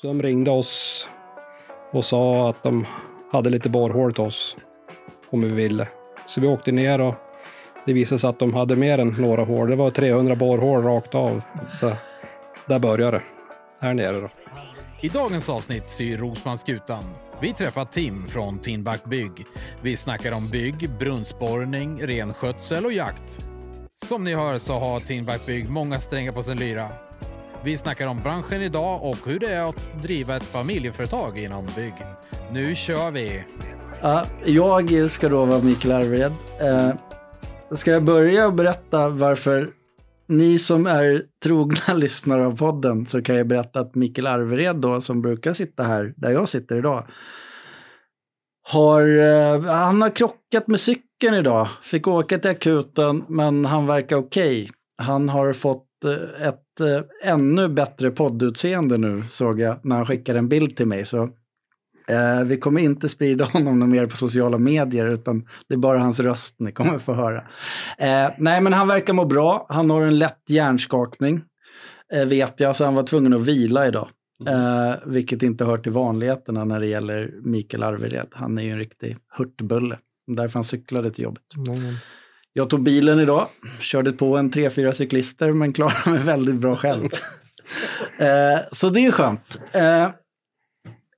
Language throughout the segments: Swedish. Så de ringde oss och sa att de hade lite borrhål till oss om vi ville. Så vi åkte ner och det visade sig att de hade mer än några hål. Det var 300 borrhål rakt av. Så där började det. Här nere då. I dagens avsnitt syr Rosmanskutan. Vi träffar Tim från Timbuk Bygg. Vi snackar om bygg, brunnsborrning, renskötsel och jakt. Som ni hör så har Timbuk Bygg många strängar på sin lyra. Vi snackar om branschen idag och hur det är att driva ett familjeföretag inom bygg. Nu kör vi! Ja, jag ska då vara Mikael Arved. Eh, ska jag börja och berätta varför ni som är trogna lyssnare av podden så kan jag berätta att Mikael Arvered då, som brukar sitta här där jag sitter idag, har, eh, han har krockat med cykeln idag. Fick åka till akuten, men han verkar okej. Han har fått eh, ett eh, ännu bättre poddutseende nu, såg jag när han skickade en bild till mig. Så eh, vi kommer inte sprida honom något mer på sociala medier, utan det är bara hans röst ni kommer få höra. Eh, nej, men han verkar må bra. Han har en lätt hjärnskakning, eh, vet jag, så han var tvungen att vila idag. Eh, vilket inte hör till vanligheterna när det gäller Mikael Arvered. Han är ju en riktig hurtbulle. Därför han cyklade till jobbet. Jag tog bilen idag, körde på en tre, fyra cyklister men klarade mig väldigt bra själv. eh, så det är skönt. Eh,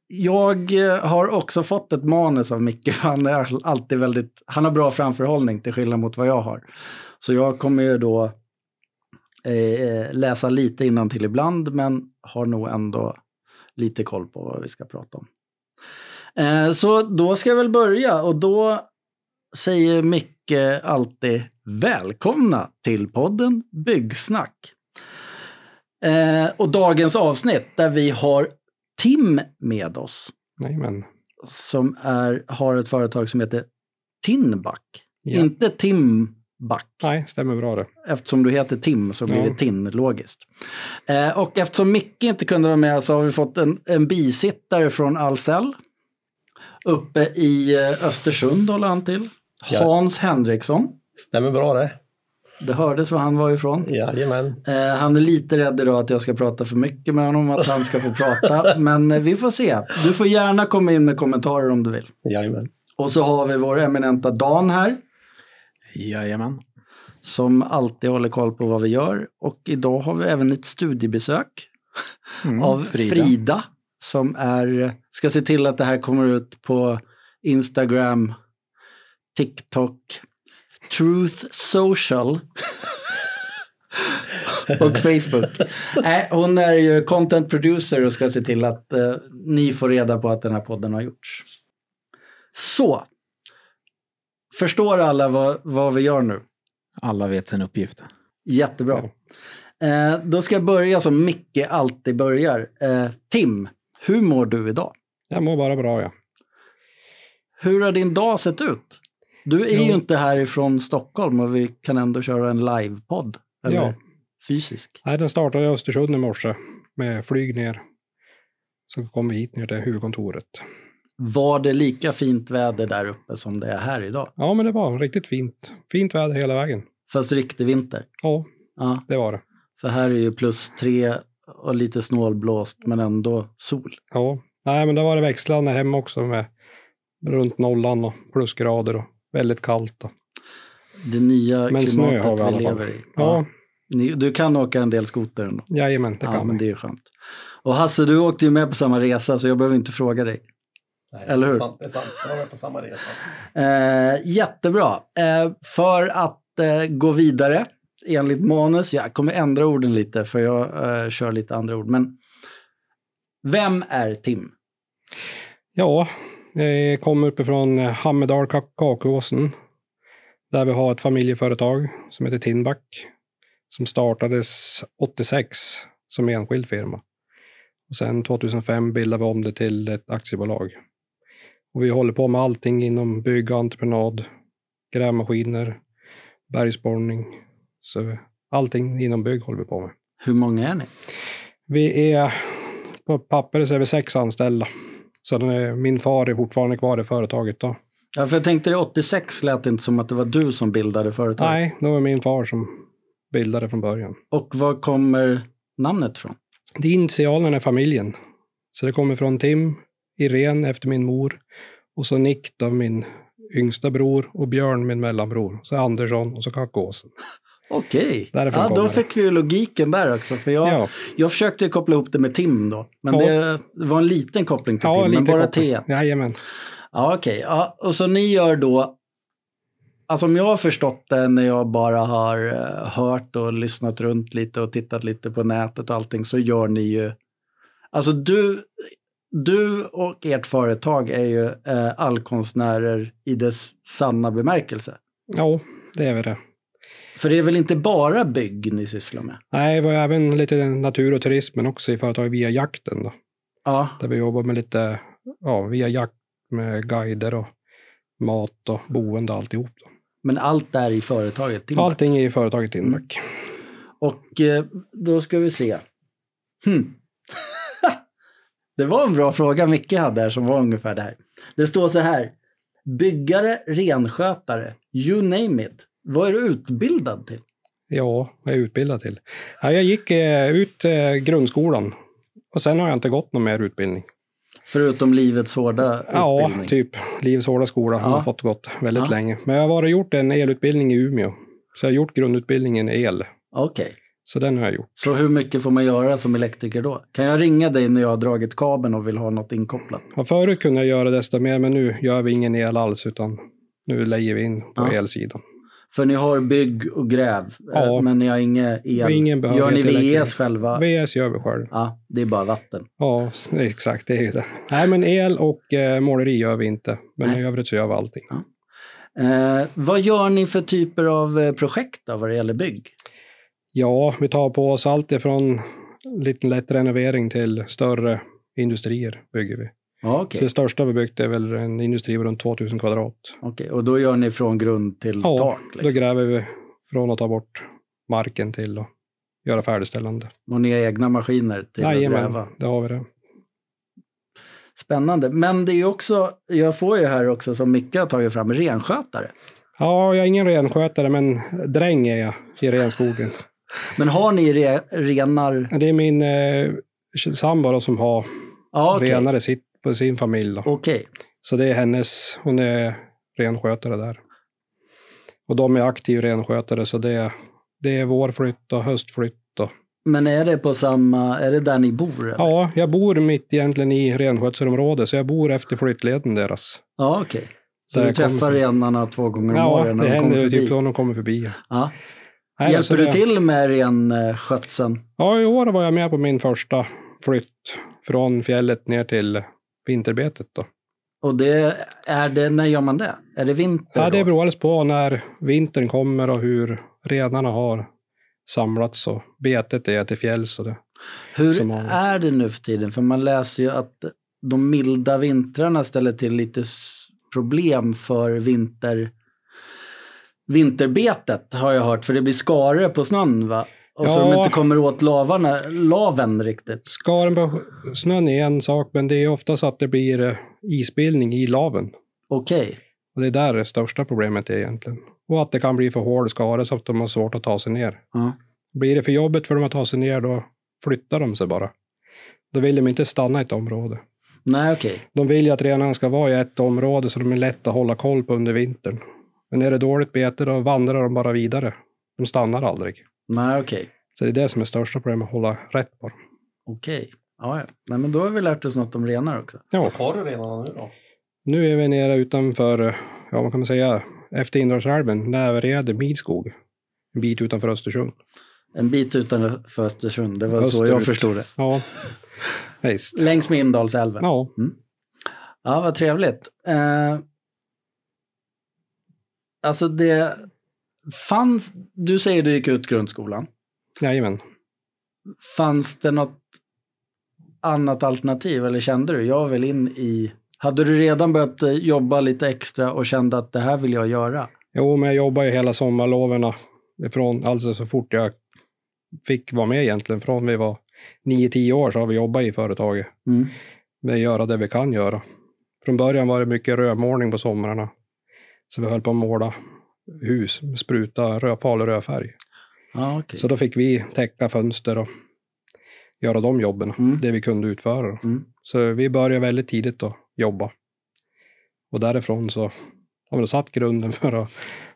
jag eh, har också fått ett manus av Micke, för han är alltid väldigt, han har bra framförhållning till skillnad mot vad jag har. Så jag kommer ju då eh, läsa lite innan till ibland, men har nog ändå lite koll på vad vi ska prata om. Eh, så då ska jag väl börja och då säger Micke alltid välkomna till podden Byggsnack. Eh, och dagens avsnitt där vi har Tim med oss Nej men. som är, har ett företag som heter Tinback. Ja. Inte Timback. Nej, stämmer bra det. Eftersom du heter Tim så blir Ja. det Tin, logiskt. Eh, och eftersom Micke inte kunde vara med så har vi fått en, en bisittare från Ahlsell. Uppe i eh, Östersund håller han till. Ja. Hans Henriksson. Stämmer bra det. Det hördes var han var ifrån. Jajamän. Eh, han är lite rädd idag att jag ska prata för mycket med honom, att han ska få prata. Men eh, vi får se. Du får gärna komma in med kommentarer om du vill. Jajamän. Och så har vi vår eminenta Dan här. Jajamän. som alltid håller koll på vad vi gör. Och idag har vi även ett studiebesök av Frida. som är, ska se till att det här kommer ut på Instagram, TikTok, Truth Social och Facebook. Nej, hon är ju content producer och ska se till att eh, ni får reda på att den här podden har gjorts. Så, förstår alla vad, vad vi gör nu? Alla vet sin uppgift. Jättebra. Eh, då ska jag börja som Micke alltid börjar. Eh, Tim, hur mår du idag? Jag mår bara bra ja. Hur har din dag sett ut? Du är Jo. ju inte härifrån Stockholm och vi kan ändå köra en livepodd. Eller Ja. fysisk. Nej, den startade i Östersund i morse med flyg ner. Så kom vi hit ner till huvudkontoret. Var det lika fint väder där uppe som det är här idag? Ja, men det var riktigt fint. Fint väder hela vägen. Fast riktig vinter. Ja, Ja, det var det. för här är ju plus tre och lite snålblåst men ändå sol. Ja, nej, men det var det växlande hem också med runt nollan och plusgrader och väldigt kallt. Och. Det nya Men snö klimatet har vi i alla vi fall. lever i. Ja, Ni- Du kan åka en del skoter ändå. jajamän, det Ja, kan men det vi. är ju skönt. Och Hasse, du åkte ju med på samma resa så jag behöver inte fråga dig. Nej, Eller hur? Det är sant. Det är sant. Jag var med på samma resa. Eh, jättebra. Eh, för att eh, gå vidare enligt manus, jag kommer ändra orden lite för jag eh, kör lite andra ord. Men vem är Tim? Ja, jag kommer uppifrån eh, Hammerdal, Kak- Kakåsen. Där vi har ett familjeföretag som heter Tinback. Som startades 86 som enskild firma. Och sen 2005 bildade vi om det till ett aktiebolag. Och vi håller på med allting inom bygg och entreprenad, grävmaskiner, bergsborrning. Så allting inom bygg håller vi på med. Hur många är ni? Vi är, på papper så är vi sex anställda. Så den är, min far är fortfarande kvar i företaget då. Ja, för jag tänkte det 86 lät inte som att det var du som bildade företaget. Nej, det var min far som bildade från början. Och var kommer namnet ifrån? Det är initialerna i familjen. Så det kommer från Tim, Irene efter min mor och så Nick då min yngsta bror och Björn min mellanbror. Så Andersson och så Kackåsen. Okej. Därifrån Ja, kommer då det. fick vi ju logiken där också. För jag, Ja, jag försökte ju koppla ihop det med Tim då. Men Ja. det var en liten koppling till ja Tim, men lite bara koppling. T. Jajamän. Ja, okej. Ja, och så ni gör då, alltså om jag har förstått det när jag bara har eh, hört och lyssnat runt lite och tittat lite på nätet och allting, så gör ni ju, alltså du, du och ert företag är ju eh, allkonstnärer i dess sanna bemärkelse. Ja, det är väl det. För det är väl inte bara bygg ni sysslar med? Nej, det var även lite natur och turismen också i företaget via jakten. Då, Ja, där vi jobbar med lite, ja, via jakt med guider och mat och boende och alltihop. Då. men allt där i företaget. Timback. Allting är i företaget Mm. Tinback. Och eh, då ska vi se. Hmm. det var en bra fråga Micke hade här som var ungefär det här. Det står så här. Byggare, renskötare, you name it. Vad är du utbildad till? Ja, vad jag är utbildad till. Ja, jag gick eh, ut eh, grundskolan och sen har jag inte gått någon mer utbildning. Förutom livets hårda Ja, utbildning. typ livets hårda skola har Ja. jag fått gått väldigt Ja. länge. Men jag har varit gjort en elutbildning i Umeå. Så jag har gjort grundutbildningen i el. Okej, Så den har jag gjort. så hur mycket får man göra som elektriker då? Kan jag ringa dig när jag har dragit kabeln och vill ha något inkopplat? Och förut kunde jag göra desto mer, men nu gör vi ingen el alls, utan nu lägger vi in på Ja. elsidan. För ni har bygg och gräv, eh, Ja. men ni har inget Och el. ingen Gör ni behörighet elektriker. VS själva? VS gör vi själv. Ja, det är bara vatten. Ja, exakt. Det är ju det. Nej, men el och eh, måleri gör vi inte. Men Nej. i övrigt så gör vi allting. Eh, vad gör ni för typer av eh, projekt då, vad det gäller bygg? Ja, vi tar på oss allt ifrån lite lätt renovering till större industrier bygger vi. Ja, Så okej. det största vi byggt är väl en industri på runt 2000 kvadrat. Okej, Och då gör ni från grund till Ja, tak? Då Liksom. gräver vi från att ta bort marken till att göra färdigställande. Och ni har egna maskiner till att Jajamän, gräva? det har vi det. Spännande. Men det är ju också, jag får ju här också som Micke har tagit fram, renskötare. Ja, jag är ingen renskötare, men dräng är jag i renskogen. Men har ni re, renar? Det är min eh, sambo då som har Ja, okej. renare sitt, på sin familj. Då. Okej. Så det är hennes, hon är renskötare där. Och de är aktiv renskötare, så det är, det är vårflytt och höstflytt. Och, Men är det på samma, är det där ni bor? eller? ja, jag bor mitt egentligen i renskötselområdet, så jag bor efter flyttleden deras. Ja, okej. Så Där du jag kommer träffar från. renarna två gånger om Ja, året när det de kommer händer ju förbi? typ när de kommer förbi. Ja. Nej, så Hjälper du det- till med renskötseln? Ja, i år var jag med på min första flytt från fjället ner till vinterbetet. Då. Och det, är det, när gör man det? Är det vinter? Ja, det då? beror alldeles på när vintern kommer och hur renarna har samlats och betet är till fjälls. Och det. Hur som man- är det nu för tiden? För man läser ju att de milda vintrarna ställer till lite s- problem för vinter... vinterbetet har jag hört. För det blir skare på snön va? Och så Ja. de inte kommer åt lavarna, laven riktigt. Skaren på snön är en sak, men det är oftast att det blir eh, isbildning i laven. Okej. Och det är där det största problemet är egentligen. Och att det kan bli för hård skare så att de har svårt att ta sig ner. Ja. Blir det för jobbigt för dem att ta sig ner, då flyttar de sig bara. Då vill de inte stanna i ett område. Nej, okej. De vill ju att renarna ska vara i ett område så de är lätta att hålla koll på under vintern. Men är det dåligt bete då vandrar de bara vidare. De stannar aldrig. Nej, okej. Så det är det som är största problemet, att hålla rätt på dem. Okej. Ja, ja. Nej, men då har vi lärt oss något om renar också. Ja, Har du renarna nu då? nu är vi nere utanför, eh, ja vad kan man säga, efter Indalsälven, Näverede, Midskog. En bit utanför Östersund. En bit utanför Östersund, det var så Österut. jag förstod det. Ja, visst. Längs med Indalsälven. Ja, Ja, vad trevligt. Eh, alltså det fanns, du säger du gick ut grundskolan. jajamän. Fanns det något annat alternativ eller kände du, jag vill in i, hade du redan börjat eh, jobba lite extra och kände att det här vill jag göra? Jo, men jag jobbar ju hela sommarloven ifrån, alltså så fort jag fick vara med egentligen. Från vi var 9-10 år så har vi jobbat i företaget. Mm. vi göra det vi kan göra. Från början var det mycket rödmålning på somrarna. Så vi höll på att måla hus, spruta rö- farlig rödfärg. Ja, okej. Så då fick vi täcka fönster och göra de jobben, Mm. det vi kunde utföra. Mm. Så vi började väldigt tidigt att jobba. Och därifrån så har vi då satt grunden för att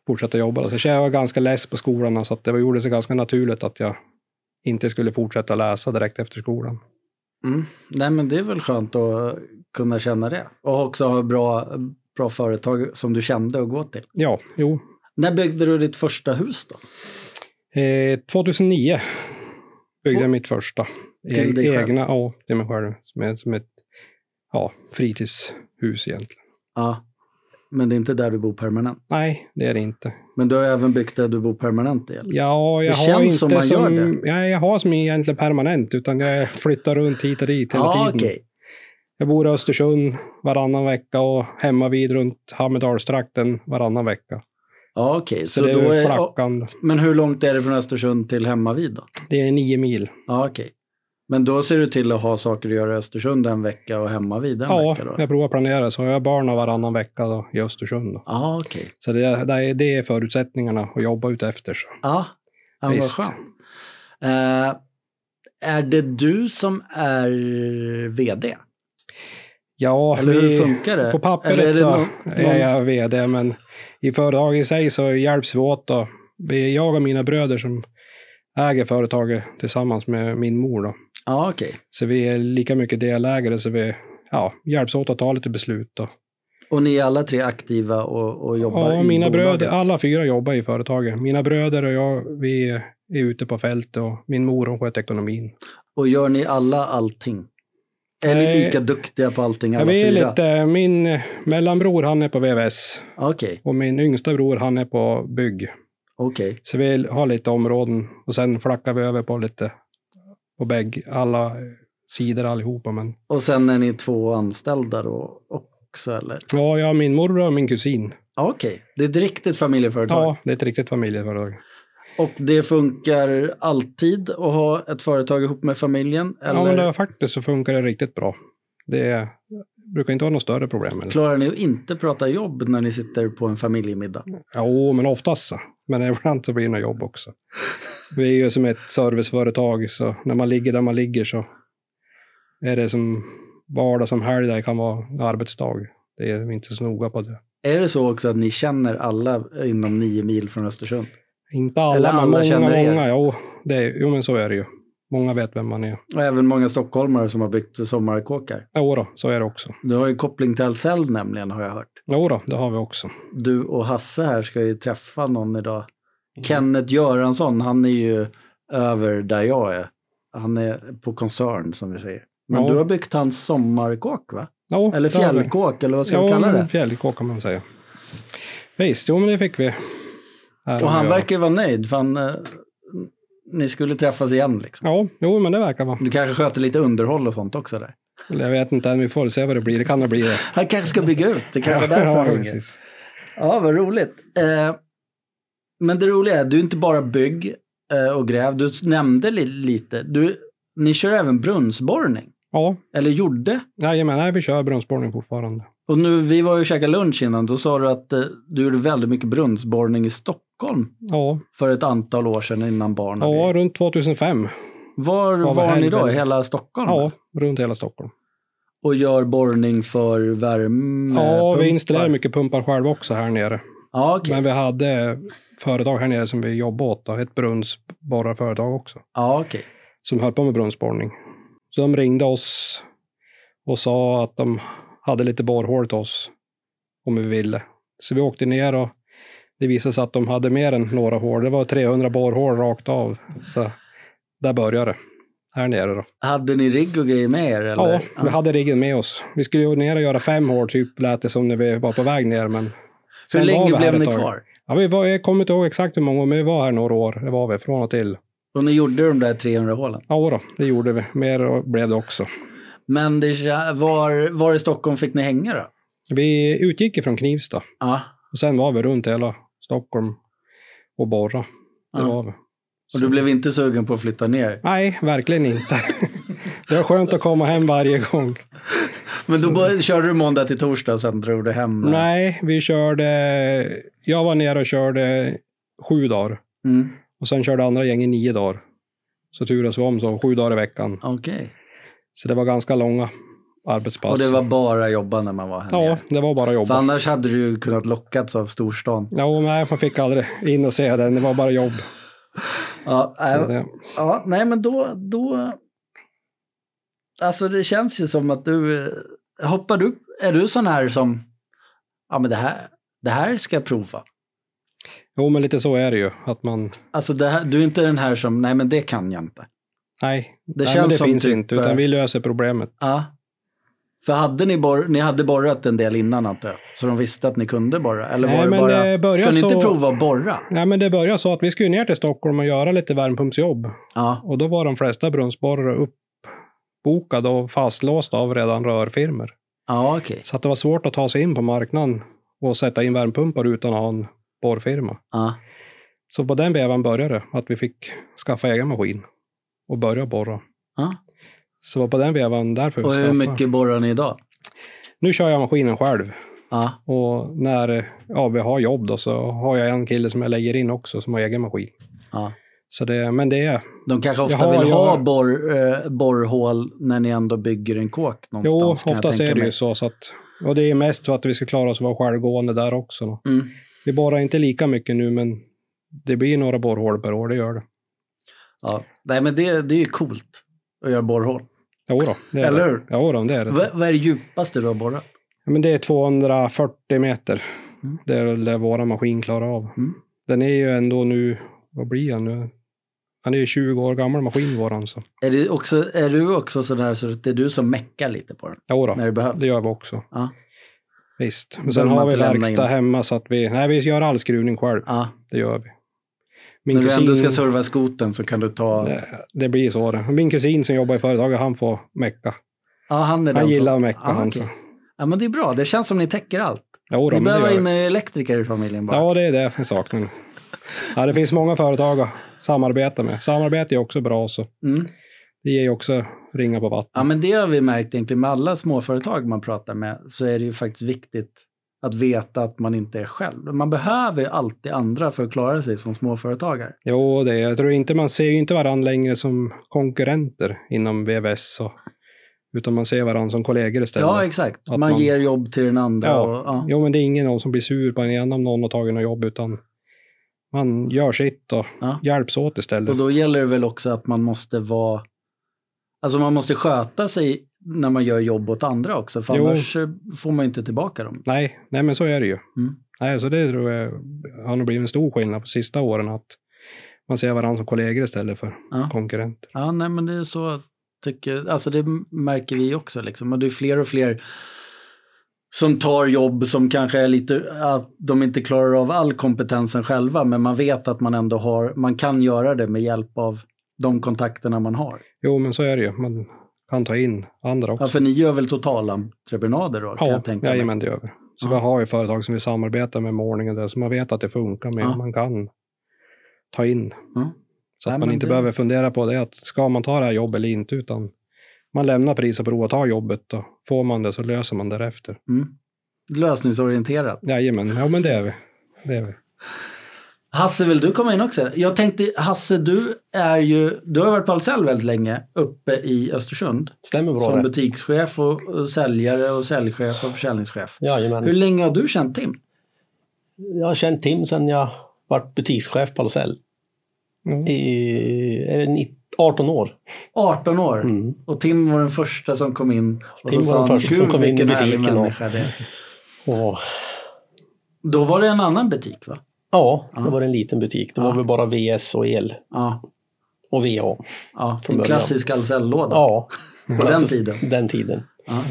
fortsätta jobba. Så jag var ganska less på skolan, så att det var- gjorde sig ganska naturligt att jag inte skulle fortsätta läsa direkt efter skolan. Mm. Nej, men det är väl skönt att kunna känna det. Och också ha bra, bra företag som du kände att gå till. Ja, jo. När byggde du ditt första hus då? Eh, 2009 byggde Två- jag mitt första. Till dig själv? Egna, ja, till mig själv. Som, är, som ett ja, fritidshus egentligen. Ja. Men det är inte där du bor permanent. Nej, det är det inte. Men du har även byggt där du bor permanent i? Eller? Ja, jag Det har känns inte som som, man gör Ja, jag har som egentligen permanent, utan jag flyttar runt hit och dit hela Ja, tiden. Ah, okej. Jag bor i Östersund varannan vecka och hemma vid runt Hammerdalstrakten varannan vecka. Ja, Ah, okej. Så, Så det då är är, flackande. men hur långt är det från Östersund till hemmavid då? Det är nio mil. Ja, okej. Men då ser du till att ha saker att göra i Östersund en vecka och hemmavid en Ja, vecka då? jag provar att planera så. Jag har barn varannan vecka då, i Östersund. Då. Ja, Ah, okej. Så det, det, är, det är förutsättningarna att jobba utefter. Så. Ah, Ja, ja vad Visst. skönt. Eh, är det du som är vd? Ja, Eller hur vi, funkar det? på Eller är pappret det så någon- någon- är jag vd, men i företaget i sig så hjälps vi åt. Då. Vi- Jag och mina bröder som äger företaget tillsammans med min mor. Då. Ja, okej. Så vi är lika mycket delägare, så vi ja, hjälps åt att ta lite beslut. Då. Och ni är alla tre aktiva och, och jobbar Ja, i mina bröder, bolaget? alla fyra jobbar i företaget. Mina bröder och jag, vi är ute på fältet och min mor hon sköter ekonomin. Och gör ni alla allting? Är ni Nej. lika duktiga på allting Jag alla vet fyra? lite, min eh, mellanbror han är på VVS Okej, och min yngsta bror han är på bygg. okej. Så vi har lite områden och sen flackar vi över på lite på bägge, alla sidor allihopa. Men Och sen är ni två anställda då också eller? ja, jag har min morbror och min kusin. Ja, Okej, det är ett riktigt familjeföretag. Ja, det är ett riktigt familjeföretag. Och det funkar alltid att ha ett företag ihop med familjen? Eller Ja, men det, faktiskt så funkar det riktigt bra. Det är, brukar inte vara något större problem. Eller? klarar ni att inte prata jobb när ni sitter på en familjemiddag? Jo, men oftast så. Men ibland så blir det något jobb också. Vi är ju som ett serviceföretag, så när man ligger där man ligger så är det som vardag som helg, där det kan vara arbetsdag. Det är inte så noga på det. Är det så också att ni känner alla inom nio mil från Östersund? Inte alla, Eller alla men många, känner er. många. Jo, det är, jo, men så är det ju. Många vet vem man är. Och även många stockholmare som har byggt sommarkåkar. Jo då, så är det också. Du har ju koppling till Ahlsell nämligen har jag hört. Jo då, det har vi också. Du och Hasse här ska ju träffa någon idag. Kenneth Göransson, han är ju över där jag är. Han är på koncern som vi säger. Men Ja. du har byggt hans sommarkåk va? Jo, Eller det har vi. fjällkåk eller vad ska vi Ja, kalla det? fjällkåk kan man säga. Visst, jo men det fick vi. Äran Och han att göra. verkar ju vara nöjd för han, eh, ni skulle träffas igen liksom. Ja, jo men det verkar vara. Du kanske sköter lite underhåll och sånt också där. Eller jag vet inte än, vi får se vad det blir. Det kan det bli det. Han kanske ska bygga ut, det kanske är därför han ringer. precis. Ja, vad roligt. Eh, men det roliga är, du är inte bara bygg eh, och gräv, du nämnde li- lite, du, ni kör även brunnsborrning, Ja, eller gjorde. jajamän, nej, vi kör brunnsborrning fortfarande. Och nu, vi var ju och käkade lunch innan, då sa du att eh, du gjorde väldigt mycket brunnsborrning i Stockholm Ja, för ett antal år sedan innan barn. och ja grejer. runt 2005. Var vad var ni då? I helvete. hela Stockholm? Ja, runt hela Stockholm. Och gör borrning för värme? Ja, vi pumpar? installerar mycket pumpar själva också här nere. Ja, okej. Men vi hade företag här nere som vi jobbade åt, då, ett brunnsborrarföretag också, Ja, okej. som höll på med brunnsborrning. Så de ringde oss och sa att de hade lite borrhål till oss om vi ville. Så vi åkte ner och det visade sig att de hade mer än några hål. Det var 300 borrhål rakt av. Så där började det. Här nere då. Hade ni rigg och grejer med er? Eller? Ja, vi hade riggen med oss. Vi skulle ju ner och göra fem hål, typ lät det som när vi var på väg ner. Men sen Hur var vi länge här blev ett ni tag. kvar? Ja, vi var, jag kommer inte ihåg exakt hur många år, men vi var här några år. Det var vi, från och till. Och ni gjorde de där 300 hålen? Ja, då, det gjorde vi. Mer blev det också. Men det, var, var i Stockholm fick ni hänga då? Vi utgick ifrån Knivsta Ja. och sen var vi runt hela Stockholm och borra. Det Ja. var vi. Och du blev inte sugen på att flytta ner? Nej, verkligen inte. det var skönt att komma hem varje gång. Men då bör, körde du måndag till torsdag och sen drog du hem? Nej, vi körde... Jag var nere och körde sju dagar Mm. och sen körde andra gänget nio dagar. Så turas vi om så, sju dagar i veckan. Okej. Så det var ganska långa Och arbetspass. det var bara jobba när man var här Ja, nere. det var bara jobb. För annars hade du ju kunnat lockats av storstan. Ja, nej, man fick aldrig in och se den. Det var bara jobb. Ja, Så nej, det, ja, nej men då, då... Alltså det känns ju som att du... eh, Hoppar du... Är du sån här som... Ja men det här, det här ska jag prova. jo, men lite så är det ju. Att man, Alltså det här, du är inte den här som, nej men det kan jag inte. nej, Det det, nej, känns men det som finns typ, inte. eh, Utan vi löser problemet. Ja. För hade ni, bor- ni hade borrat en del innan antar jag? Så de visste att ni kunde borra? Eller Nej, var det men, eh, bara, börja ska ni inte så- prova att borra? Nej, men det började så att vi skulle ner till Stockholm och göra lite värmepumpsjobb. Ja. Och då var de flesta brunnsborrare uppbokade och fastlåsta av redan rörfirmor. Ja, okej. Så att det var svårt att ta sig in på marknaden och sätta in värmepumpar utan att ha en borrfirma. Ja. Så på den vevan började det, att vi fick skaffa egen maskin och börja borra. Ja. Så det var på den vevan därför vi Och hur skaffade. mycket borrar ni idag? Nu kör jag maskinen själv. Ja. Och när ja, vi har jobb då så har jag en kille som jag lägger in också som har egen maskin. ja. Så det, men det är... De kanske ofta Jaha, vill jag- ha borr, eh, borrhål när ni ändå bygger en kåk någonstans. Jo, kan jag oftast tänka är det mig. ju så. så att, och det är mest för att vi ska klara oss att vara självgående där också. Då. Mm. Vi borrar inte lika mycket nu, men det blir några borrhål per år, det gör det. Ja. Nej, men det, det är ju coolt att göra borrhål. Jo då, det är Eller det. hur? Jo då, det är det. Va- vad är det djupaste du har borrat? Ja, Men det är 240 meter. Mm. Det är väl det våra maskin klarar av. Mm. Den är ju ändå nu, vad blir han nu? Han är ju 20 år gammal maskin våran. Så. Är, det också, är du också sån här så att det är du som meckar lite på den Jo då, när det behövs? det gör vi också. Ja. Visst. Men Behöver sen man har vi inte lämna verkstad in. hemma så att vi, nej vi gör all skruvning själv. Ja. Det gör vi. Min När du ändå ska kusin, serva skoten så kan du ta... Ja, det, det blir så det. Min kusin som jobbar i företaget, han får mecka. han är den Han som- gillar att mecka Ja, han. okej. så. Ja, men det är bra. Det känns som ni täcker allt. Jo då, Ni men det behöver gör in vi. en elektriker i familjen bara. Ja, det är det jag saknar. Ja, det finns många företag att samarbeta med. Samarbete är också bra. Så. Mm. Det ger ju också ringa på vattnet. Ja, men det har vi märkt egentligen med alla småföretag man pratar med så är det ju faktiskt viktigt att veta att man inte är själv. Man behöver ju alltid andra för att klara sig som småföretagare. Jo, det, jag tror inte man ser ju inte varandra längre som konkurrenter inom VVS. Och, utan man ser varandra som kollegor istället. Ja, exakt. Att Man, man- ger jobb till den andra. Ja. Och, ja. jo, men det är ingen någon som blir sur på en igen om någon har tagit något jobb, utan man gör sitt och Ja. hjälps åt istället. Och då gäller det väl också att man måste vara... Alltså man måste sköta sig när man gör jobb åt andra också, för Jo. annars eh, får man ju inte tillbaka dem. Nej, nej, men så är det ju. Mm. Nej, så det tror jag har nog blivit en stor skillnad på sista åren, att man ser varandra som kollegor istället för Ja. konkurrenter. Ja, nej men det är så jag tycker, alltså det märker vi också liksom. Och det är fler och fler som tar jobb som kanske är lite, att de inte klarar av all kompetensen själva, men man vet att man ändå har, man kan göra det med hjälp av de kontakterna man har. Jo, men så är det ju. Man kan ta in andra också. Ja, för ni gör väl totalentreprenader då? Kan Ja, jag tänka mig. jajamän, det gör vi. Så Ja. vi har ju företag som vi samarbetar med målning och det, så man vet att det funkar med. Ja. Man kan ta in. Ja. Så att Nej, man men inte det- behöver fundera på det, att ska man ta det här jobbet eller inte, utan man lämnar pris och prov och tar jobbet och får man det så löser man därefter. Mm. Lösningsorienterat. Jajamän, ja men det är vi. Det är vi. Hasse, vill du komma in också? Jag tänkte, Hasse, du är ju, du har varit på Ahlsell väldigt länge uppe i Östersund. Stämmer bra som det. butikschef och, och säljare och säljchef och försäljningschef. Hur Jajamän. länge har du känt Tim? Jag har känt Tim sedan jag vart butikschef på Ahlsell. Mm. I är det nitt- 18 år. 18 år. Mm. Och Tim var den första som kom in. Och Tim så var den sa han, första som "Gud, kom in i vilken härlig butiken och- människa det är." Och, Då var det en annan butik va? ja, Ja. det var en liten butik. Det Ja. var väl bara VS och el Ja, och VA. ja Från en början. klassisk Ahlsell-låda Ja, på den klassisk- tiden. den tiden. Ja.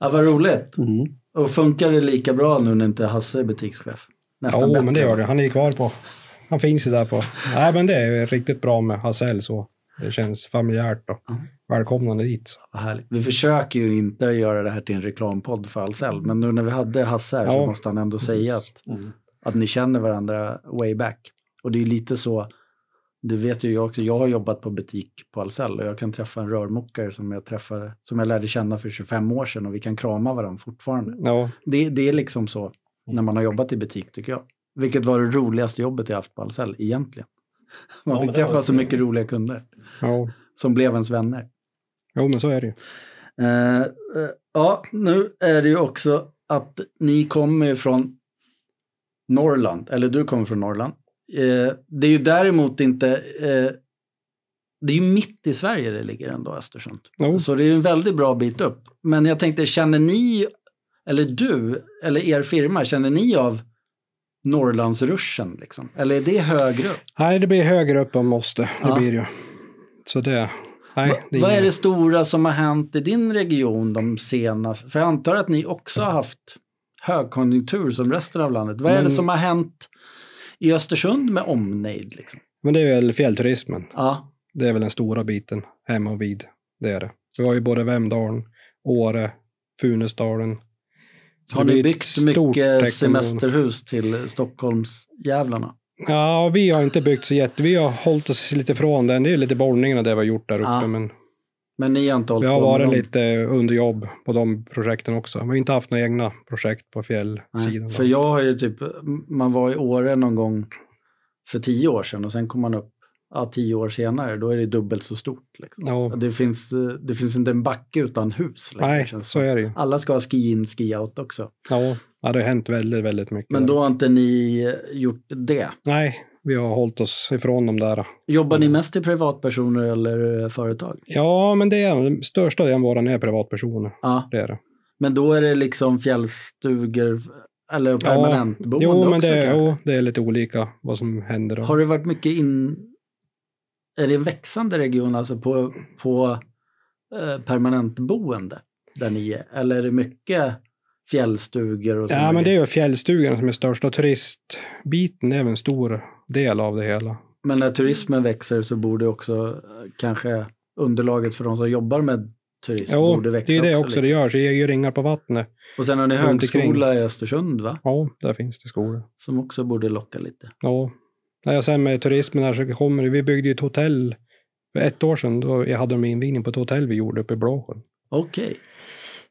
ja, vad roligt. Mm. Och funkar det lika bra nu när inte Hasse är butikschef? Nästan Jo, bättre. men det gör det. Han är ju kvar på... Han finns ju där på... Nej, men det är riktigt bra med Hassell så. Det känns familjärt och Mm. välkomnande dit. Så. Vad härligt. Vi försöker ju inte göra det här till en reklampodd för Ahlsell, men nu när vi hade Hasse här så Ja, måste han ändå säga precis. att Mm. att ni känner varandra way back. Och det är lite så, det vet ju jag också, jag har jobbat på butik på Ahlsell och jag kan träffa en rörmokare som jag träffade, som jag lärde känna för 25 år sedan och vi kan krama varandra fortfarande. Ja, Det, det är liksom så när man har jobbat i butik tycker jag. Vilket var det roligaste jobbet jag haft på Ahlsell egentligen. Man Ja, fick men det var träffa så kul. mycket roliga kunder Ja, som blev ens vänner. jo, men så är det ju. Eh, eh, ja, nu är det ju också att ni kommer ju från Norrland, eller du kommer från Norrland. Eh, det är ju däremot inte, eh, det är ju mitt i Sverige det ligger ändå, Östersund. Jo, Så det är ju en väldigt bra bit upp. Men jag tänkte, känner ni, eller du, eller er firma, känner ni av Norrlandsruschen liksom? Eller är det högre upp? nej, det blir högre upp om måste. Det Ja. blir det ju. Så det, nej. det Vad är ingen- det stora som har hänt i din region de senaste, för jag antar att ni också har haft högkonjunktur som resten av landet. Vad är Men- det som har hänt i Östersund med omnejd? Liksom? Men det är väl fjällturismen. Ja, Det är väl den stora biten hemma och vid. Det är det. Vi har ju både Vemdalen, Åre, Funäsdalen. Så har det ni blir ett byggt stort rekommendation. mycket semesterhus till Stockholmsjävlarna? Ja, vi har inte byggt så jätte... Vi har hållit oss lite från den. Det är lite borrningarna det vi har gjort där uppe, Ja. men Men ni har inte hållit vi har på med varit dem. lite under jobb på de projekten också. Vi har inte haft några egna projekt på Nej, fjällsidan. För jag har ju typ, man var i Åre någon gång för tio år sedan och sen kom man upp ja, tio år senare, då är det dubbelt så stort. Liksom. Ja, Det, finns, eh, det finns inte en backe utan hus. liksom, nej, känns det så som. är det ju. Alla ska ha ski-in, ski-out också. Ja, ja, det har hänt väldigt, väldigt mycket. Men där. då har inte ni eh, gjort det. Nej, vi har hållit oss ifrån de där. Jobbar ni mest till privatpersoner eller eh, företag? Ja, men det är den största delen våran är privatpersoner. Ja, Det är det. men då är det liksom fjällstugor eller permanentboende jo, men också det, kanske? jo, det är lite olika vad som händer. Då. Har det varit mycket in... Är det en växande region alltså på, på eh, permanentboende där ni är? Eller är det mycket fjällstugor och Ja, men det är ju fjällstugan som är största. Turistbiten är väl en stor del av det hela. men när turismen växer så borde också eh, kanske underlaget för de som jobbar med turism Jo, borde växa det är det också lite. det gör. Så det ger ju ringar på vattnet. Och sen har ni runt högskola i Östersund va? Ja, där finns det skolor. Som också borde locka lite. Ja. Nej, och sen med turismen här så kommer det- Vi byggde ju ett hotell för ett år sedan. Då hade de invigning på ett hotell vi gjorde uppe i Blåsjön. Okej,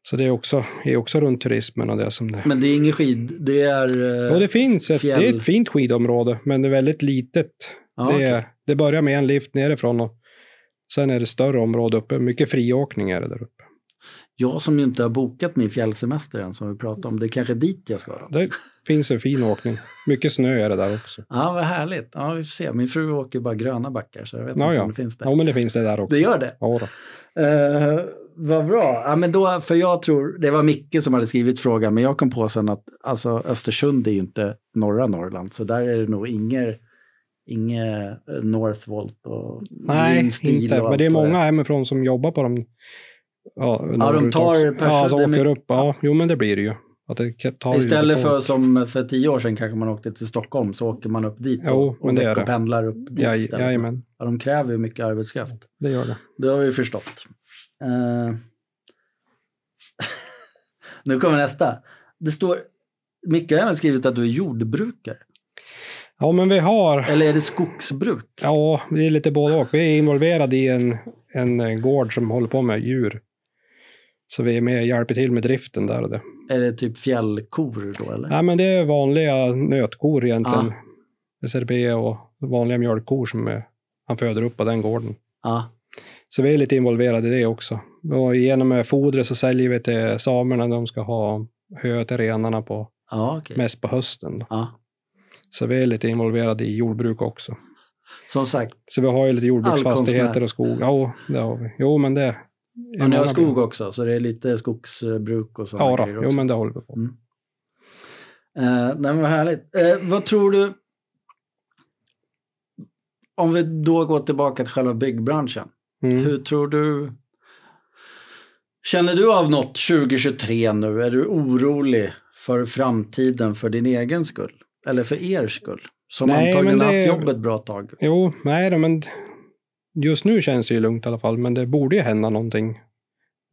Så det är också, är också runt turismen och det som det men det är ingen skid, det är... eh, Och det finns ett, det är fjäll. ett fint skidområde, men det är väldigt litet. ja, det, okej. är, det börjar med en lift nerifrån och sen är det större område uppe. Mycket friåkning är det där uppe. Jag som ju inte har bokat min fjällsemester än som vi pratade om, det är kanske dit jag ska. Det finns en fin åkning. Mycket snö är det där också. Ja, vad härligt. Ja, vi får se. Min fru åker bara gröna backar så jag vet Ja, inte ja. om det finns det. Ja, men det finns det där också. Det gör det. Ja, då. Eh, vad bra. Ja, men då, för jag tror, det var Micke som hade skrivit frågan, men jag kom på sen att alltså, Östersund är ju inte norra Norrland, så där är det nog inget inge Northvolt och Nej, Windstil inte. och Men det är allt vad många hemifrån som jobbar på dem. Ja, norrut tar också. perso- Ja, som det är åker mycket- upp. Ja, jo, men det blir det ju. Att det kan- tar ju Istället lite för folk. som för tio år sedan kanske man åkte till Stockholm så åker man upp dit Jo, och, men och det är det. veckopendlar upp dit Jaj, istället. jajamän, Ja, de kräver ju mycket arbetskraft. det gör det. Det har vi förstått. Eh. nu kommer nästa. Det står, Micke har även skrivit att du är jordbrukare. Ja, men vi har... Eller är det skogsbruk? Ja, det är lite både och. Vi är involverade i en, en eh, gård som håller på med djur. Så vi är med och hjälper till med driften där och det. Är det typ fjällkor då eller? Nej, men det är vanliga nötkor egentligen. SRB och vanliga mjölkkor som är, han föder upp på den gården. Ja. Så vi är lite involverade i det också. Och genom eh, fodret så säljer vi till samerna. De ska ha hö till renarna på, Ja, okej. mest på hösten. Då. Ja. Så vi är lite involverade i jordbruk också. Som sagt, Så vi har ju lite jordbruksfastigheter Allkonstnär. och skog. Ja, det har vi. Jo, men det... ja, ni har många- skog också så det är lite skogsbruk och sådana Ja, då. grejer jo, också. men det håller vi på med. Eh, nej, men vad härligt. Eh, vad tror du? Om vi då går tillbaka till själva byggbranschen. Mm. Hur tror du? Känner du av något 2023 nu? Är du orolig för framtiden för din egen skull? Eller för er skull? Som Nej, antagligen men har det- haft jobbet bra tag. Jo, nej då, men just nu känns det ju lugnt i alla fall, men det borde ju hända någonting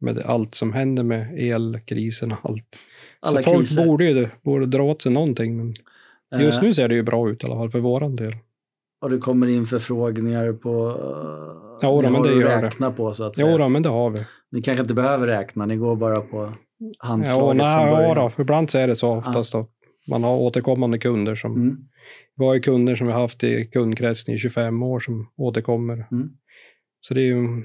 med allt som händer med elkrisen och allt. Alla så folk kriser. borde ju borde dra åt sig någonting, men just Eh, nu ser det ju bra ut i alla fall för våran del. Och det kommer in förfrågningar på... eh, Ja, ni då, men har det att gör det. räkna på så att säga. Jo, då, men det har vi. Ni kanske inte behöver räkna, ni går bara på handslaget Ja, från nej, början. ja, då. Ibland så är det så oftast. Då. man har återkommande kunder. Som, Mm. Vi har ju kunder som vi har haft i kundkretsen i 25 år som återkommer. Mm. Så det är ju en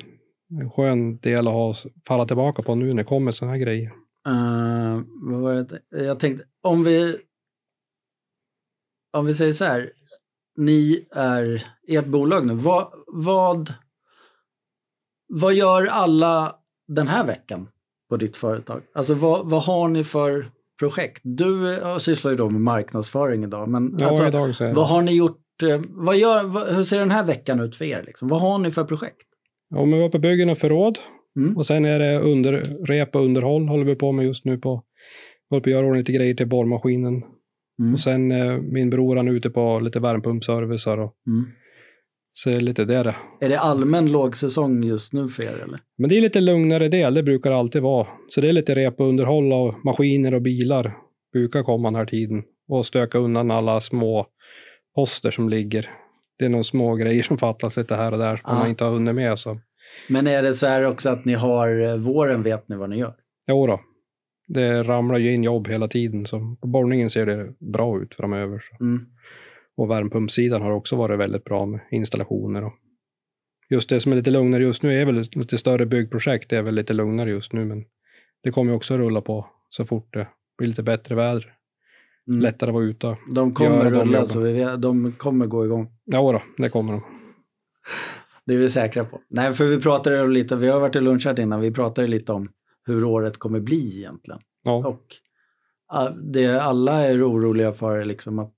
en skön del att ha, falla tillbaka på nu när det kommer sådana här grejer. Eh, vad var det? Jag tänkte, om vi, om vi säger så här, ni är ert bolag nu, vad, vad, vad gör alla den här veckan på ditt företag? Alltså vad, vad har ni för projekt? Du eh, sysslar ju då med marknadsföring idag, men Ja, alltså, idag så är det. vad har ni gjort? eh, Vad gör, vad, hur ser den här veckan ut för er? Liksom? Vad har ni för projekt? Ja, men vi var på byggen och förråd Mm. och sen är det under, rep och underhåll håller vi på med just nu. På, håller på att göra ordning lite grejer till borrmaskinen. Mm. Och sen eh, min bror han är ute på lite värmepumpservicer och Mm. så är det lite det. det. Är det allmän lågsäsong just nu för er? Eller? Men det är lite lugnare del, det brukar det alltid vara. Så det är lite rep och underhåll av maskiner och bilar. Brukar komma den här tiden. Och stöka undan alla små poster som ligger. Det är några små grejer som fattas lite här och där som Ah. man inte har hunnit med. Så. Men är det så här också att ni har eh, våren vet ni vad ni gör? Jo då. Det ramlar ju in jobb hela tiden, så på borrningen ser det bra ut framöver. Så. Mm. Och värmepumpsidan har också varit väldigt bra med installationer. Och just det som är lite lugnare just nu är väl lite större byggprojekt, det är väl lite lugnare just nu, men det kommer ju också rulla på så fort det blir lite bättre väder. Mm. Lättare att vara ute. De kommer Gör de rulla jobben. så vi vet, de kommer gå igång. Jo då, det kommer de. Det är vi säkra på. Nej, för vi pratade ju lite, vi har varit i lunch här innan, vi pratade lite om hur året kommer bli egentligen. Ja, Och ah, det alla är oroliga för är liksom att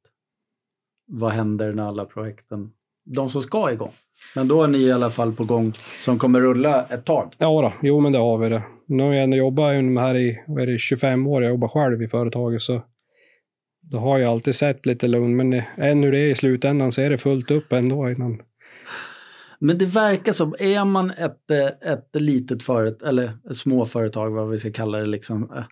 vad händer när alla projekten, de som ska igång. Men då är ni i alla fall på gång som kommer rulla ett tag. ja då. jo men det har vi det. Nu har jag ändå jobbat ungefär här i vad är det, 25 år, jag jobbar själv i företaget, så då har jag alltid sett lite lugn, men eh, än hur det är i slutändan så är det fullt upp ändå innan. Men det verkar som, är man ett, eh, ett litet företag, eller ett småföretag vad vi ska kalla det liksom. eh,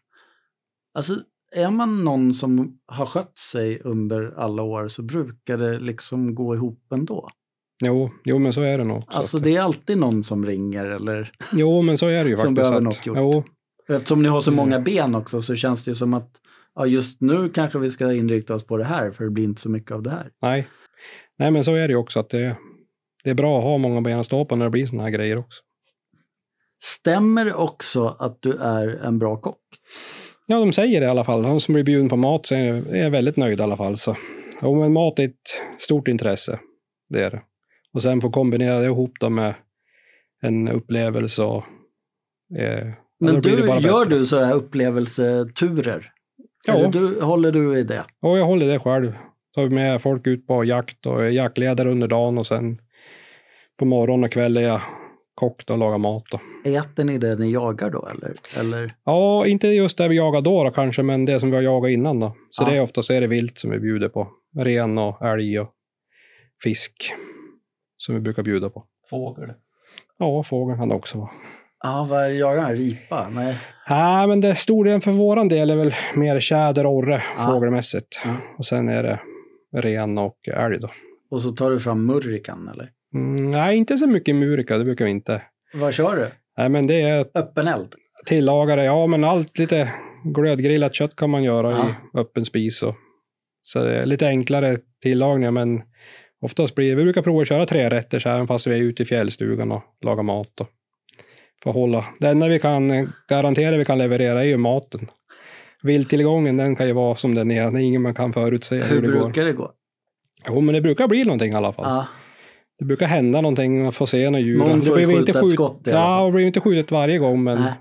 Alltså är man någon som har skött sig under alla år så brukar det liksom gå ihop ändå. Jo, jo men så är det nog. Så Alltså att- det är alltid någon som ringer eller Jo, men så är det ju Som faktiskt. behöver att- något gjort. Jo, eftersom ni har så Mm. många ben också så känns det ju som att ja, just nu kanske vi ska inrikta oss på det här för det blir inte så mycket av det här. nej. nej, men så är det ju också att det, det är bra att ha många ben att stå på när det blir såna här grejer också. Stämmer det också att du är en bra kock? Ja, de säger det i alla fall. De som blir bjuden på mat säger- är väldigt nöjda i alla fall. Så. Jo, men mat är ett stort intresse. Det är det. Och sen få kombinera det ihop då med en upplevelse och... Eh, ja, Men då blir du, det bara gör bättre. du sådana här upplevelseturer? Eller Ja, du, håller du i det? och jag håller det själv. Tar med folk ut på jakt och är jaktledare under dagen och sen på morgon och kväll är jag kock då och lagar mat. Då. Äter ni det ni jagar då eller? eller? Ja, inte just det vi jagar då, då kanske, men det som vi har jagat innan då. Så Ja. det är ofta så är det vilt som vi bjuder på. Ren och älg och fisk som vi brukar bjuda på. Fågel. Ja, fågel kan det också vara. Ja, vad jagar han? Ripa? Nej. Nej, men det stor delen för våran del är väl mer tjäder och orre Ja. fågelmässigt. Ja. Och sen är det ren och älg då. Och så tar du fram murrikan eller? Mm, nej, inte så mycket murika, det brukar vi inte. Vad kör du? Nej, men det är Öppen eld? tillagare. Ja, men allt lite glödgrillat kött kan man göra i Ja. öppen spis. Och, så det är lite enklare tillagningar, men oftast blir Vi brukar prova att köra tre rätter så här, även fast vi är ute i fjällstugan och lagar mat. Och, för att hålla. Det enda vi kan eh, garantera vi kan leverera är ju maten. Vilttillgången, den kan ju vara som den är. Det är ingen man kan förutse hur, Hur det går. brukar det gå? Jo, men det brukar bli någonting i alla fall. Ja. Det brukar hända någonting, man får se några djur. Någon det får blir väl skjuta ett skjut- skott i alla Ja, fall. det blir inte skjutet varje gång, men Nej.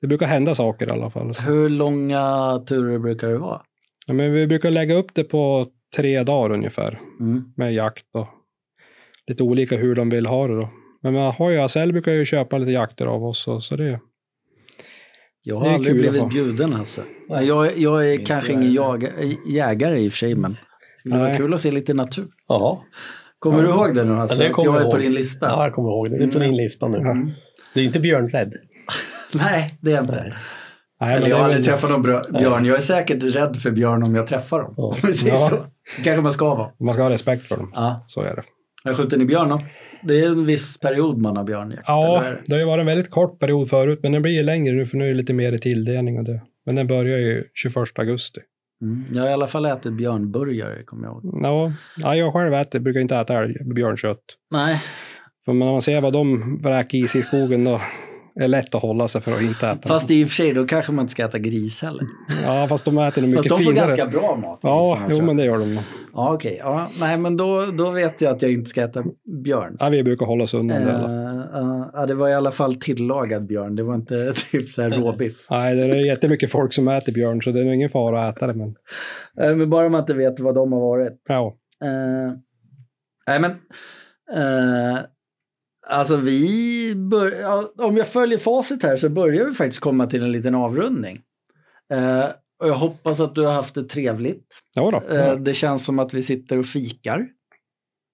det brukar hända saker i alla fall. Så. Hur långa turer brukar det vara? Ja, men vi brukar lägga upp det på tre dagar ungefär Mm. med jakt och lite olika hur de vill ha det då. Men man har ju, Asell brukar ju köpa lite jakter av oss och, så det. Jag Det har är aldrig kul att blivit få. bjuden alltså. Men Jag, jag är Inte kanske jag ingen heller. jaga- jägare i och för sig, men det var Nej. kul att se lite natur. Ja, Kommer Ja. du ihåg det nu? Alltså, Ja, det Att kommer jag är jag på ihåg. din lista. ja, jag kommer ihåg. Det Det är på Mm. din lista nu. Ja. Du är inte björnrädd. Nej, det är jag inte. Nej. Nej, Eller men jag det har är aldrig väl- träffat någon brö- björn. Jag är säkert rädd för björn om jag träffar dem. Ja. Precis Ja. så. kanske man ska vara. Man ska ha respekt för dem. Ja. Så är det. Har skjuter ni björn då? Det är en viss period man har björnjakt. Ja, eller? det har ju varit en väldigt kort period förut, men den blir ju längre nu för nu är det lite mer i tilldelning och det. Men den börjar ju 21 augusti. Mm. Jag har i alla fall ätit björnburgare, kommer jag ihåg. Ja, ja, jag själv äter, brukar inte äta älg- björnkött. Nej, För när man ser vad de vräker i sig i skogen då är det lätt att hålla sig för att inte äta. fast i och för sig, då kanske man inte ska äta gris heller. ja, fast de äter nog Fast mycket de får finare. ganska bra mat. Ja, grisarna, tror jo, jag. men det gör de. Ja, okej. Ja, nej, men då, då vet jag att jag inte ska äta björn. Ja, vi brukar hålla oss undan det. alla. Eh, eh, ja, det var i alla fall tillagad björn. Det var inte typ så här råbiff. Nej, det är jättemycket folk som äter björn, så det är nog ingen fara att äta det. Men, Eh, men bara man inte vet vad de har varit. ja. Eh, nej, men... eh, alltså vi... Bör, ja, om jag följer facit här så börjar vi faktiskt komma till en liten avrundning. Eh, och jag hoppas att du har haft det trevligt. Jo då. Eh, det känns som att vi sitter och fikar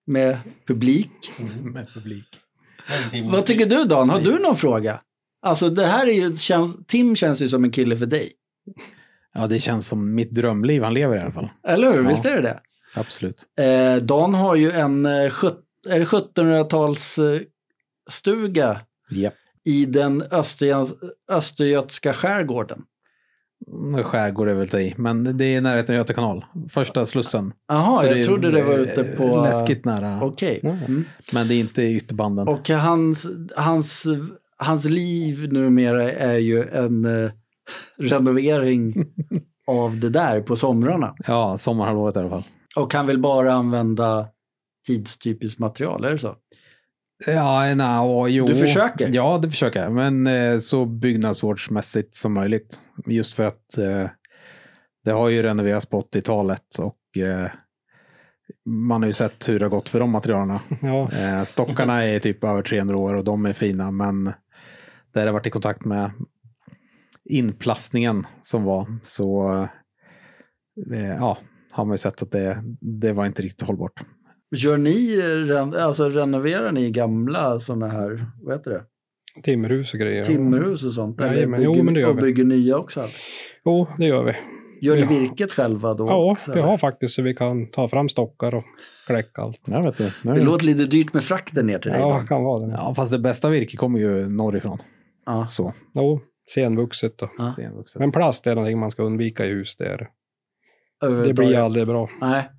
med publik. med publik. Vad tycker du Dan? Har du någon fråga? Alltså det här är ju, känns, Tim känns ju som en kille för dig. Ja, det känns som mitt drömliv han lever i alla fall. Eller hur? Ja. Visst är det det? Absolut. Eh, Dan har ju en eh, sjut- är det eh, 1700-talsstuga Japp. i den östergöts- östergötska skärgården. Skärgård är väl att ta i, men det är i närheten av Göta kanal. Första slussen. Jaha, Så jag är eh, trodde det var ute på... Läskigt nära. Okej. Ja. Mm. Men det är inte i ytterbanden. Och hans, hans, hans liv numera är ju en eh, renovering av det där på somrarna. Ja, sommarhalvåret i alla fall. Och han vill bara använda tidstypiskt material, är det så? Ja, na, och, jo. Du försöker? Ja, det försöker jag. Men eh, så byggnadsvårdsmässigt som möjligt. Just för att eh, det har ju renoverats på 80-talet och eh, man har ju sett hur det har gått för de materialen. Ja. Eh, stockarna är typ över 300 år och de är fina, men där har jag varit i kontakt med inplastningen som var så eh, ja, har man ju sett att det, det var inte riktigt hållbart. Gör ni, ren- alltså renoverar ni gamla sådana här, vad heter det, Timmerhus och grejer. timmerhus och sånt? Eller Jajamän, jo, bygger, men det gör och vi. bygger nya också? Jo, det gör vi. Gör ni Ja. virket själva då? Ja, också, vi eller? har faktiskt så vi kan ta fram stockar och kläcka allt. Jag vet det. Det låter lite dyrt med frakten ner till dig. Ja, Ja. kan vara det. Ja, fast det bästa virket kommer ju norrifrån. Ja. Så, Jo, senvuxet då. Ja. senvuxet. Men plast är någonting man ska undvika i hus. Det, är. Eh, det. det överhuvudtaget. blir aldrig bra. Nej.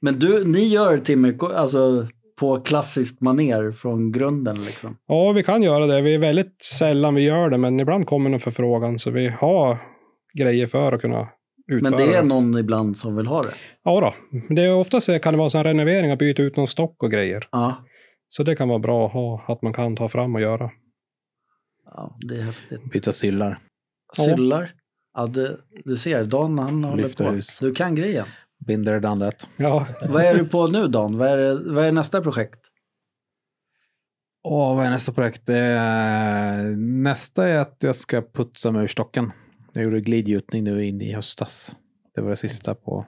Men du, ni gör timmer, alltså på klassiskt maner från grunden liksom? Ja, vi kan göra det. Vi är väldigt sällan vi gör det, men ibland kommer någon förfrågan så vi har grejer för att kunna utföra Men det är någon ibland som vill ha det? Ja, då. det är oftast kan det vara sån här renovering att byta ut någon stock och grejer. Ja. Så det kan vara bra att ha, att man kan ta fram och göra. ja det är häftigt. Byta syllar. Ja. Syllar. Ja, det, du ser, Dan han håller Lyfta på. hus. Du kan grejen. Binder done that. Ja, Vad är du på nu Dan? Vad är, det- vad är nästa projekt? Åh, vad är nästa projekt? Eh, nästa är att jag ska putsa mig ur stocken. Jag gjorde glidgjutning nu in i höstas. Det var det sista på,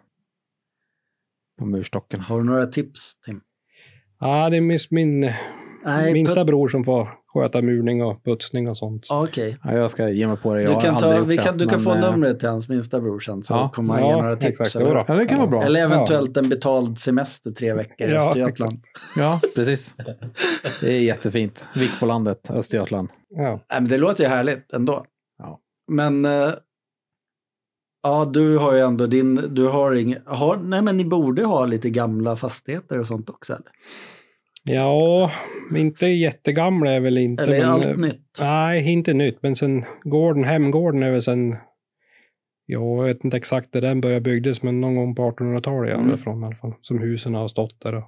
på murstocken. Har du några tips Tim? ja det är min, min Nej, minsta put- bror som får sköta murning och putsning och sånt. Ja, Okej. Ja, jag ska ge mig på det. Jag Du har kan, aldrig ta, gjort vi det, kan, du kan men, få eh, numret till hans minsta bror sen så Ja. kommer han ge några tips. exakt. eller? Jo då. Ja, det kan vara bra. eller eventuellt en betald semester tre veckor i Ja, Östergötland. Ja, precis. Det är jättefint. Vik på landet, Östergötland. Ja. Nej, men det låter ju härligt ändå. Ja. Men eh, ja, du har ju ändå din, du har ing, har, nej men ni borde ha lite gamla fastigheter och sånt också eller? ja, inte jättegamla är väl inte. Eller är men, eh, allt nytt? Nej, inte nytt, men sen gården, hemgården är väl sen, jag vet inte exakt när den började byggdes, men någon gång på 1800-talet är Mm. mm. från i alla fall, som husen har stått där. Och,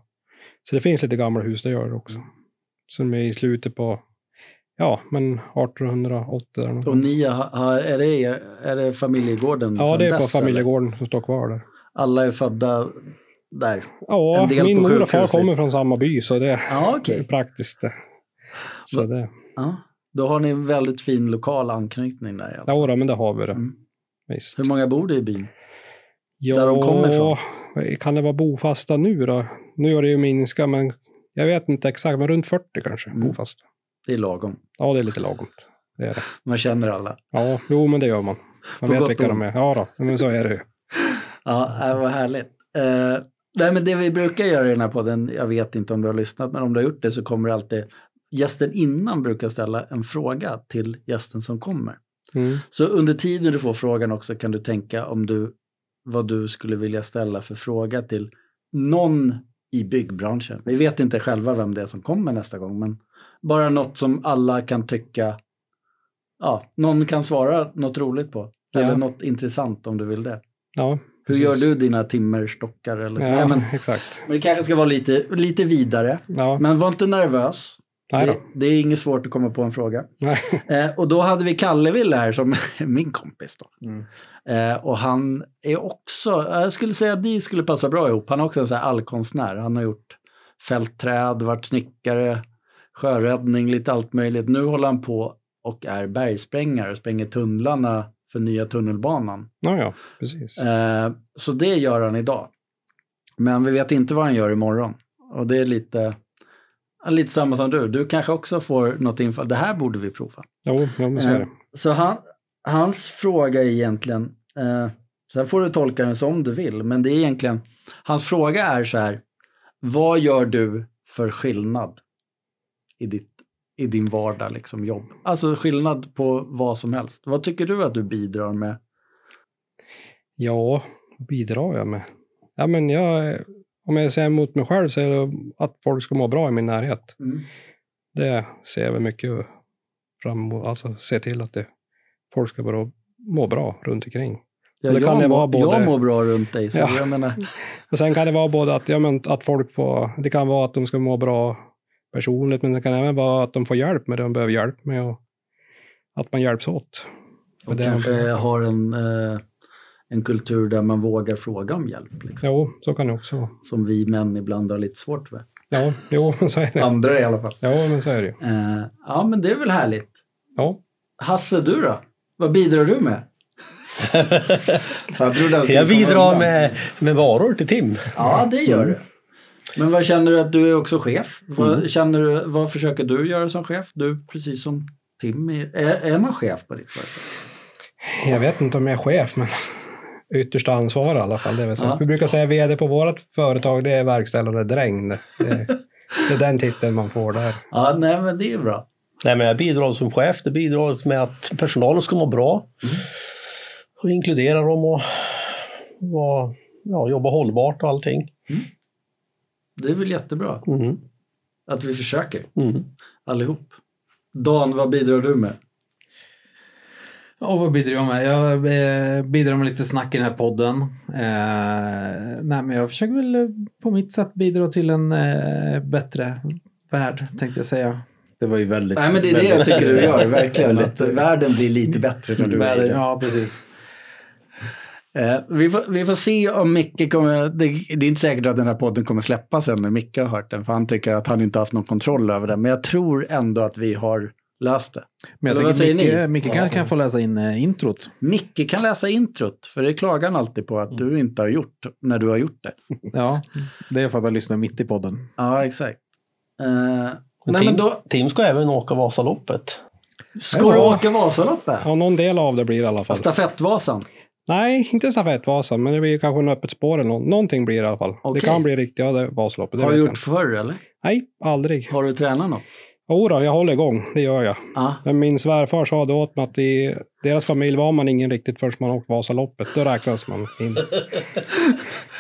så det finns lite gamla hus, det gör det också. Som är i slutet på, ja, men 1880 där Och någonstans. ni har, har- är, det er, är det familjegården? Ja, sedan det är på dess, eller? familjegården som står kvar där. Alla är födda där? En Ja, del min på mor och far sjukhuset. kommer från samma by, så det Ja, okej. är praktiskt. Det. Så det, Ja. Då har ni en väldigt fin lokal anknytning där. i alla fall. ja, då, men det har vi det. Mm. Visst. Hur många bor det i byn? Ja, där de kommer ifrån? Kan det vara bofasta nu då? Nu har det ju minskat, men jag vet inte exakt, men runt 40 kanske Mm. bofasta. Det är lagom. Ja, det är lite lagomt. Det är det. Man känner alla. Ja, jo, men det gör man. Man På vet gott vilka och de är. Ja, då, men så är det ju. Ja, äh, vad härligt. Eh, nej, men det vi brukar göra i den här podden, jag vet inte om du har lyssnat, men om du har gjort det så kommer det alltid gästen innan brukar ställa en fråga till gästen som kommer. Mm. Så under tiden du får frågan också kan du tänka om du vad du skulle vilja ställa för fråga till någon i byggbranschen. Vi vet inte själva vem det är som kommer nästa gång, men bara något som alla kan tycka, ja, någon kan svara något roligt på. Ja. Eller något intressant om du vill det. Ja, Hur precis. gör du dina timmerstockar? Eller? Ja, Nej, men, exakt. men det kanske ska vara lite, lite vidare. Ja, Men var inte nervös. nej Det, då. det är inget svårt att komma på en fråga. Nej. Eh, och då hade vi Kalleville här som min kompis. Då. Mm. Eh, och han är också, eh, jag skulle säga att ni skulle passa bra ihop. Han är också en sån här allkonstnär. Han har gjort fältträd, varit snickare, sjöräddning, lite allt möjligt. Nu håller han på och är bergsprängare och spränger tunnlarna för nya tunnelbanan. Ja, ja, precis. Eh, så det gör han idag. Men vi vet inte vad han gör imorgon. Och det är lite, ja, lite samma som du. Du kanske också får något infall. Det här borde vi prova. Jo, jo men så är Eh, det. Så han, hans fråga är egentligen, eh, sen får du tolka den som du vill, men det är egentligen, hans fråga är så här, vad gör du för skillnad i, ditt, i din vardag, liksom jobb? Alltså skillnad på vad som helst. Vad tycker du att du bidrar med? Ja, vad bidrar jag med? Ja, men jag, om jag säger emot mig själv så är det att folk ska må bra i min närhet. Det ser jag väl mycket fram emot. Alltså se till att det, folk ska bara må bra runt omkring. Ja, Det jag, kan det mår, vara både- jag mår bra runt dig, så Ja. jag menar, Och sen kan det vara både att, ja, men, att folk får, det kan vara att de ska må bra personligt, men det kan även vara att de får hjälp med det de behöver hjälp med och att man hjälps åt. och det- kanske har en, eh, en kultur där man vågar fråga om hjälp, liksom, Jo, så kan det också vara. som vi män ibland har lite svårt för. Ja, jo, men så är det. Andra i alla fall. Ja, men så är det ju. Eh, ja, men det är väl härligt. Ja. Hasse, du då? Vad bidrar du med? Jag, trodde han skulle jag komma bidrar undan. med, med varor till Tim. Ja, det Mm. gör du. Men vad känner du att du är också chef? Vad, känner du, vad försöker du göra som chef? Du, precis som Tim, är, är är man chef på ditt företag? Jag vet inte om jag är chef, men yttersta ansvar i alla fall. Det är väl så. Ja. Vi brukar säga vd på vårt företag, det är verkställande dräng. Det, det, det är den titeln man får där. Ja, nej, men det är bra. Nej, men jag bidrar som chef. Det bidrar med att personalen ska må bra. Och inkludera dem och, vara- ja, jobba hållbart och allting. Det är väl jättebra Mm. att vi försöker Mm. allihop. Dan, vad bidrar du med? Och vad bidrar jag med? Jag eh, bidrar med lite snack i den här podden. Eh, nej, men jag försöker väl eh, på mitt sätt bidra till en eh, bättre värld, tänkte jag säga. Det var ju väldigt... Nej, men det är det jag väldigt- tycker du gör, verkligen. Att väldigt- världen blir lite bättre när du är i väldigt- den. Ja, precis. Eh, vi, får, vi får se om Micke kommer... Det, det är inte säkert att den här podden kommer släppas än när Micke har hört den, för han tycker att han inte haft någon kontroll över den. Men jag tror ändå att vi har löst det. Men jag Eller vad tänker säger ni? Micke, Micke kanske kan få läsa in eh, introt. Micke kan läsa introt, för det klagar han alltid på att du inte har gjort, när du har gjort det. Ja, det är för att jag lyssnar mitt i podden. Ja, exakt. Eh, Men Nej, Tim, men då- Tim ska även åka Vasaloppet. ska du åka Vasaloppet? Ja, någon del av det blir det i alla fall. Stafettvasan? Nej, inte stafettvasa, men det blir kanske en öppet spår eller någon. någonting blir det i alla fall. Okej. Det kan bli riktiga det- Vasaloppet. Det Har du vet jag gjort inte. förr eller? Nej, aldrig. Har du tränat något? Jodå, jag håller igång. Det gör jag. Ja. Men min svärfar sa det åt mig att i deras familj var man ingen riktigt förrän man åkt Vasaloppet. Då räknas man in.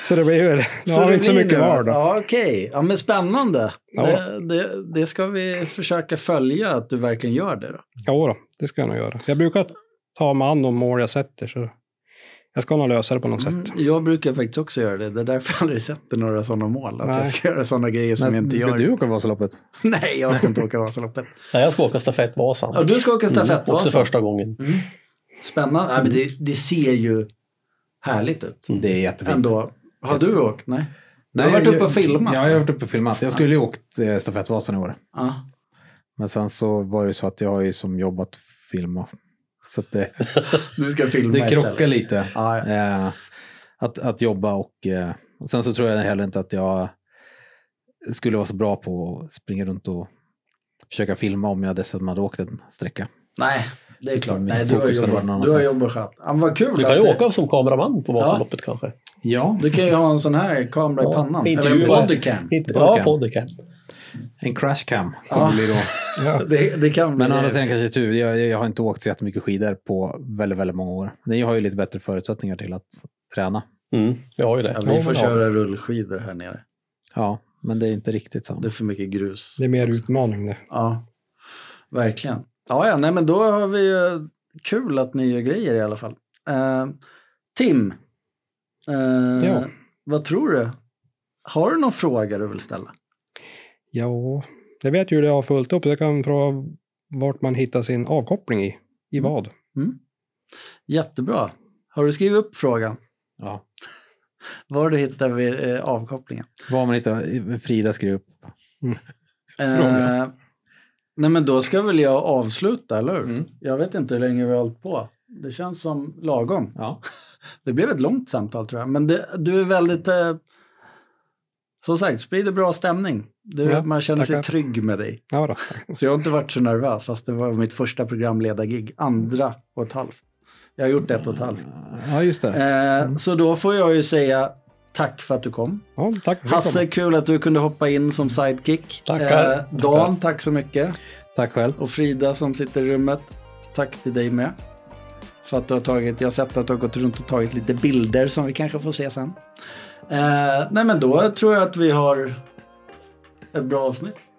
så det blir ju... Nu har vi inte så blir mycket nu. kvar då. Ja, Okej, ja, men spännande. Ja. Det, det, det ska vi försöka följa, att du verkligen gör det. Då. Jo då, det ska jag nog göra. Jag brukar ta mig an de mål jag sätter, så jag ska nog lösa det på något Mm, sätt. jag brukar faktiskt också göra det. Det är därför jag aldrig sätter några sådana mål. Att Nej. jag ska göra sådana grejer som jag inte ska gör. du åka Vasaloppet? Nej, jag ska inte åka Vasaloppet. Nej, jag ska åka stafettvasan. Ja, du ska åka Mm, också stafettvasan. första gången. Spännande. Ja, men det, det ser ju härligt ut Det är jättefint. Mm. ändå. Har du åkt? Nej. Du har Nej, varit jag- uppe och filmat. Ja, jag har varit uppe och filmat. Jag skulle ju åkt eh, stafettvasan i år. Ja. Men sen så var det så att jag har ju som jobb att filma. Så att det, Du ska filma det krockar istället. lite. Ja, ja. Eh, att, att jobba och, eh, och sen så tror jag heller inte att jag skulle vara så bra på att springa runt och försöka filma om jag dessutom hade åkt en sträcka. Nej, det är klart. Mitt Nej, du har fokus hade varit jobbat, någon du har annanstans. jobbat skönt. Ja, men vad kul Du kan att ju det- åka som kameraman på Vasaloppet kanske. Ja, Du kan ju ha en sån här kamera i Ja, pannan. intervju- Eller en bodycam. Inte- Ja, Podcast. podcast. en crashcam. Ja. Ja. Det, det kan bli Men å andra det. sidan kanske det är tur. Jag, jag har inte åkt så jättemycket skidor på väldigt, väldigt många år. Ni har ju lite bättre förutsättningar till att träna. Mm, vi har ju det. Ja, Ja, vi får men ja. köra rullskidor här nere. Ja, men det är inte riktigt Det är samma. för mycket grus. Det är mer utmaning det. Ja, verkligen. Ja, ja, nej men då har vi ju kul att ni gör grejer i alla fall. Eh, Tim, eh, Ja. vad tror du? Har du någon fråga du vill ställa? Ja, jag vet ju hur det har fullt upp. Jag kan fråga vart man hittar sin avkoppling i. I Mm. vad? Jättebra. Har du skrivit upp frågan? Ja. Var du hittar vi eh, avkopplingen? Vad man hittar, Frida skrev upp. Eh, nej men då ska väl jag avsluta, eller hur? Jag vet inte hur länge vi har hållit på. Det känns som lagom. Ja. Det blev ett långt samtal tror jag. Men det, du är väldigt... Eh, som sagt, sprider bra stämning. Du, Ja, man känner sig tackar. trygg med dig. Ja, då. Så jag har inte varit så nervös, fast det var mitt första programledargig. Andra och ett halvt. Jag har gjort ett och ett halvt. Ja, just det. Eh, Så då får jag ju säga tack för att du kom. ja tack. Hasse, kul att du kunde hoppa in som sidekick. Eh, Tackar. Dan, tack så mycket. Tack själv. Och Frida som sitter i rummet, tack till dig med. För att du har tagit, jag har sett att du har gått runt och tagit lite bilder som vi kanske får se sen. Eh, nej men då tror jag att vi har ett bra avsnitt.